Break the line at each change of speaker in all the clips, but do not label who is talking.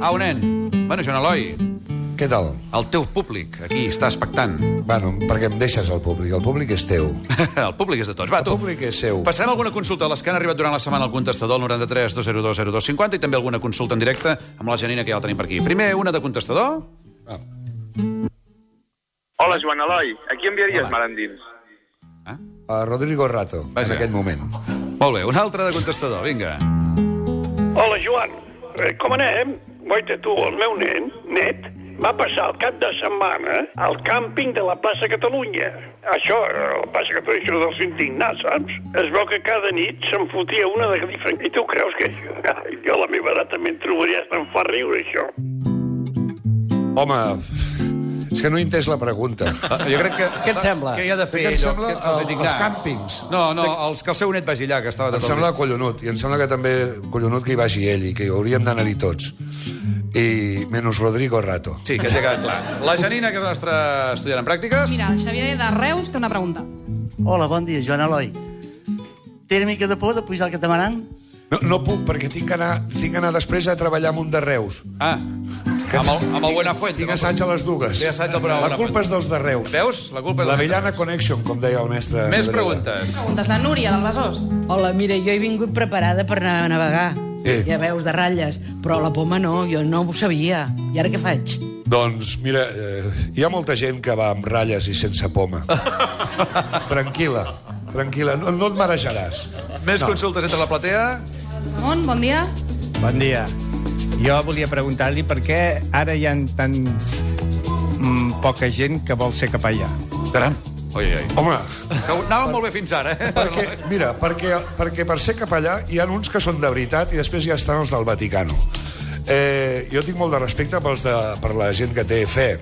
Au, Ah, nen. Bueno, Joan Eloi,
Què tal?
el teu públic aquí està expectant.
Bueno, perquè em deixes el públic. El públic és teu.
El públic és de tots. Va,
El
tu.
públic és seu.
Passarem alguna consulta a les que han arribat durant la setmana al contestador al 93 202 0250 i també alguna consulta en directe amb la Janina, que ja la tenim per aquí. Primer, una de contestador.
Ah,
Hola, Joan Eloi. A qui enviaries
Hola.
mar endins?
Ah?
a Rodrigo Rato,
Vaja.
en aquest moment.
Molt bé, una altra de contestador, vinga.
Hola, Joan. Eh, Com anem? Guaita, tu, el meu nen, net, va passar el cap de setmana al càmping de la plaça Catalunya. Això, eh, la plaça Catalunya, això dels indignats, saps? Es veu que cada nit se'n fotia una de grifa. I tu creus que això... Ai, jo a la meva edat també en trobaria, em fa riure, això.
Home, és que no he entès la pregunta.
Ah, Jo crec que...
Què et sembla?
Què hi ha de fer?
Què et
allò?
sembla?
Què els
Els
indignats?
càmpings.
No, no, els que el seu net vagi allà, que estava...
Em
tot el
sembla
dia.
collonut, i em sembla que també collonut que hi vagi ell, i que hi hauríem d'anar-hi tots. I menys Rodrigo Rato.
Sí, que ens ha quedat clar. La Janina, que és la nostra estudiant en pràctiques.
Mira, el Xavier de Reus té una pregunta.
Hola, bon dia, Joan Eloi. Té una mica de por de pujar al catamaran?
No, no puc, perquè tinc que, anar, tinc que anar després a treballar amb un de Reus.
Ah, amb el, amb el Buenafuente.
Tinc assaig a les dues.
Té assaig al programa
La
Buenafuente.
culpa és dels de Reus.
Veus? La culpa és...
La Vellana Connection, com deia el mestre.
Més
Nebreda.
preguntes.
Preguntes la Núria, del Besòs.
Hola, mira, jo he vingut preparada per anar a navegar.
Sí.
Ja veus, de ratlles. Però la poma no, jo no ho sabia. I ara què faig?
Doncs, mira, eh, hi ha molta gent que va amb ratlles i sense poma. tranquil·la, tranquil·la, no, no et marejaràs.
Més
No.
consultes entre la platea.
Ramon, bon dia.
Bon dia. Jo volia preguntar-li per què ara hi ha tant mm, poca gent que vol ser capellà.
Caram. Oi, oi, oi.
Home,
Que ho- anàvem molt bé fins ara, eh?
perquè, mira, perquè, perquè per ser capellà hi ha uns que són de veritat i després ja estan els del Vaticano. Eh, jo tinc molt de respecte pels de, per la gent que té fe,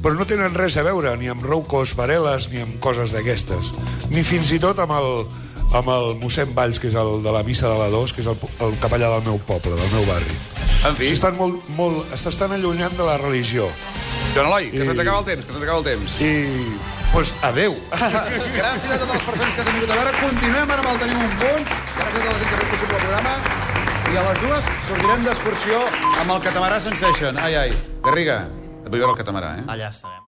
però no tenen res a veure ni amb roucos, vareles, ni amb coses d'aquestes. Ni fins i tot amb el, amb el mossèn Valls, que és el de la missa de la 2, que és el, po- el capellà del meu poble, del meu barri.
En fi,
S'estan molt, molt, s'estan allunyant de la religió.
Joan Eloi, que
I-
se'ns acaba el temps, que se'ns acaba el temps.
I, doncs, adeu.
Gràcies a totes les persones que s'han vingut a veure. Continuem ara amb el Tenim un punt. Gràcies a la gent que ha fet possible el programa. I a les dues sortirem d'excursió amb el catamarà Sensation. Ai, ai. Garriga, et vull veure el catamarà, eh?
Allà estarem.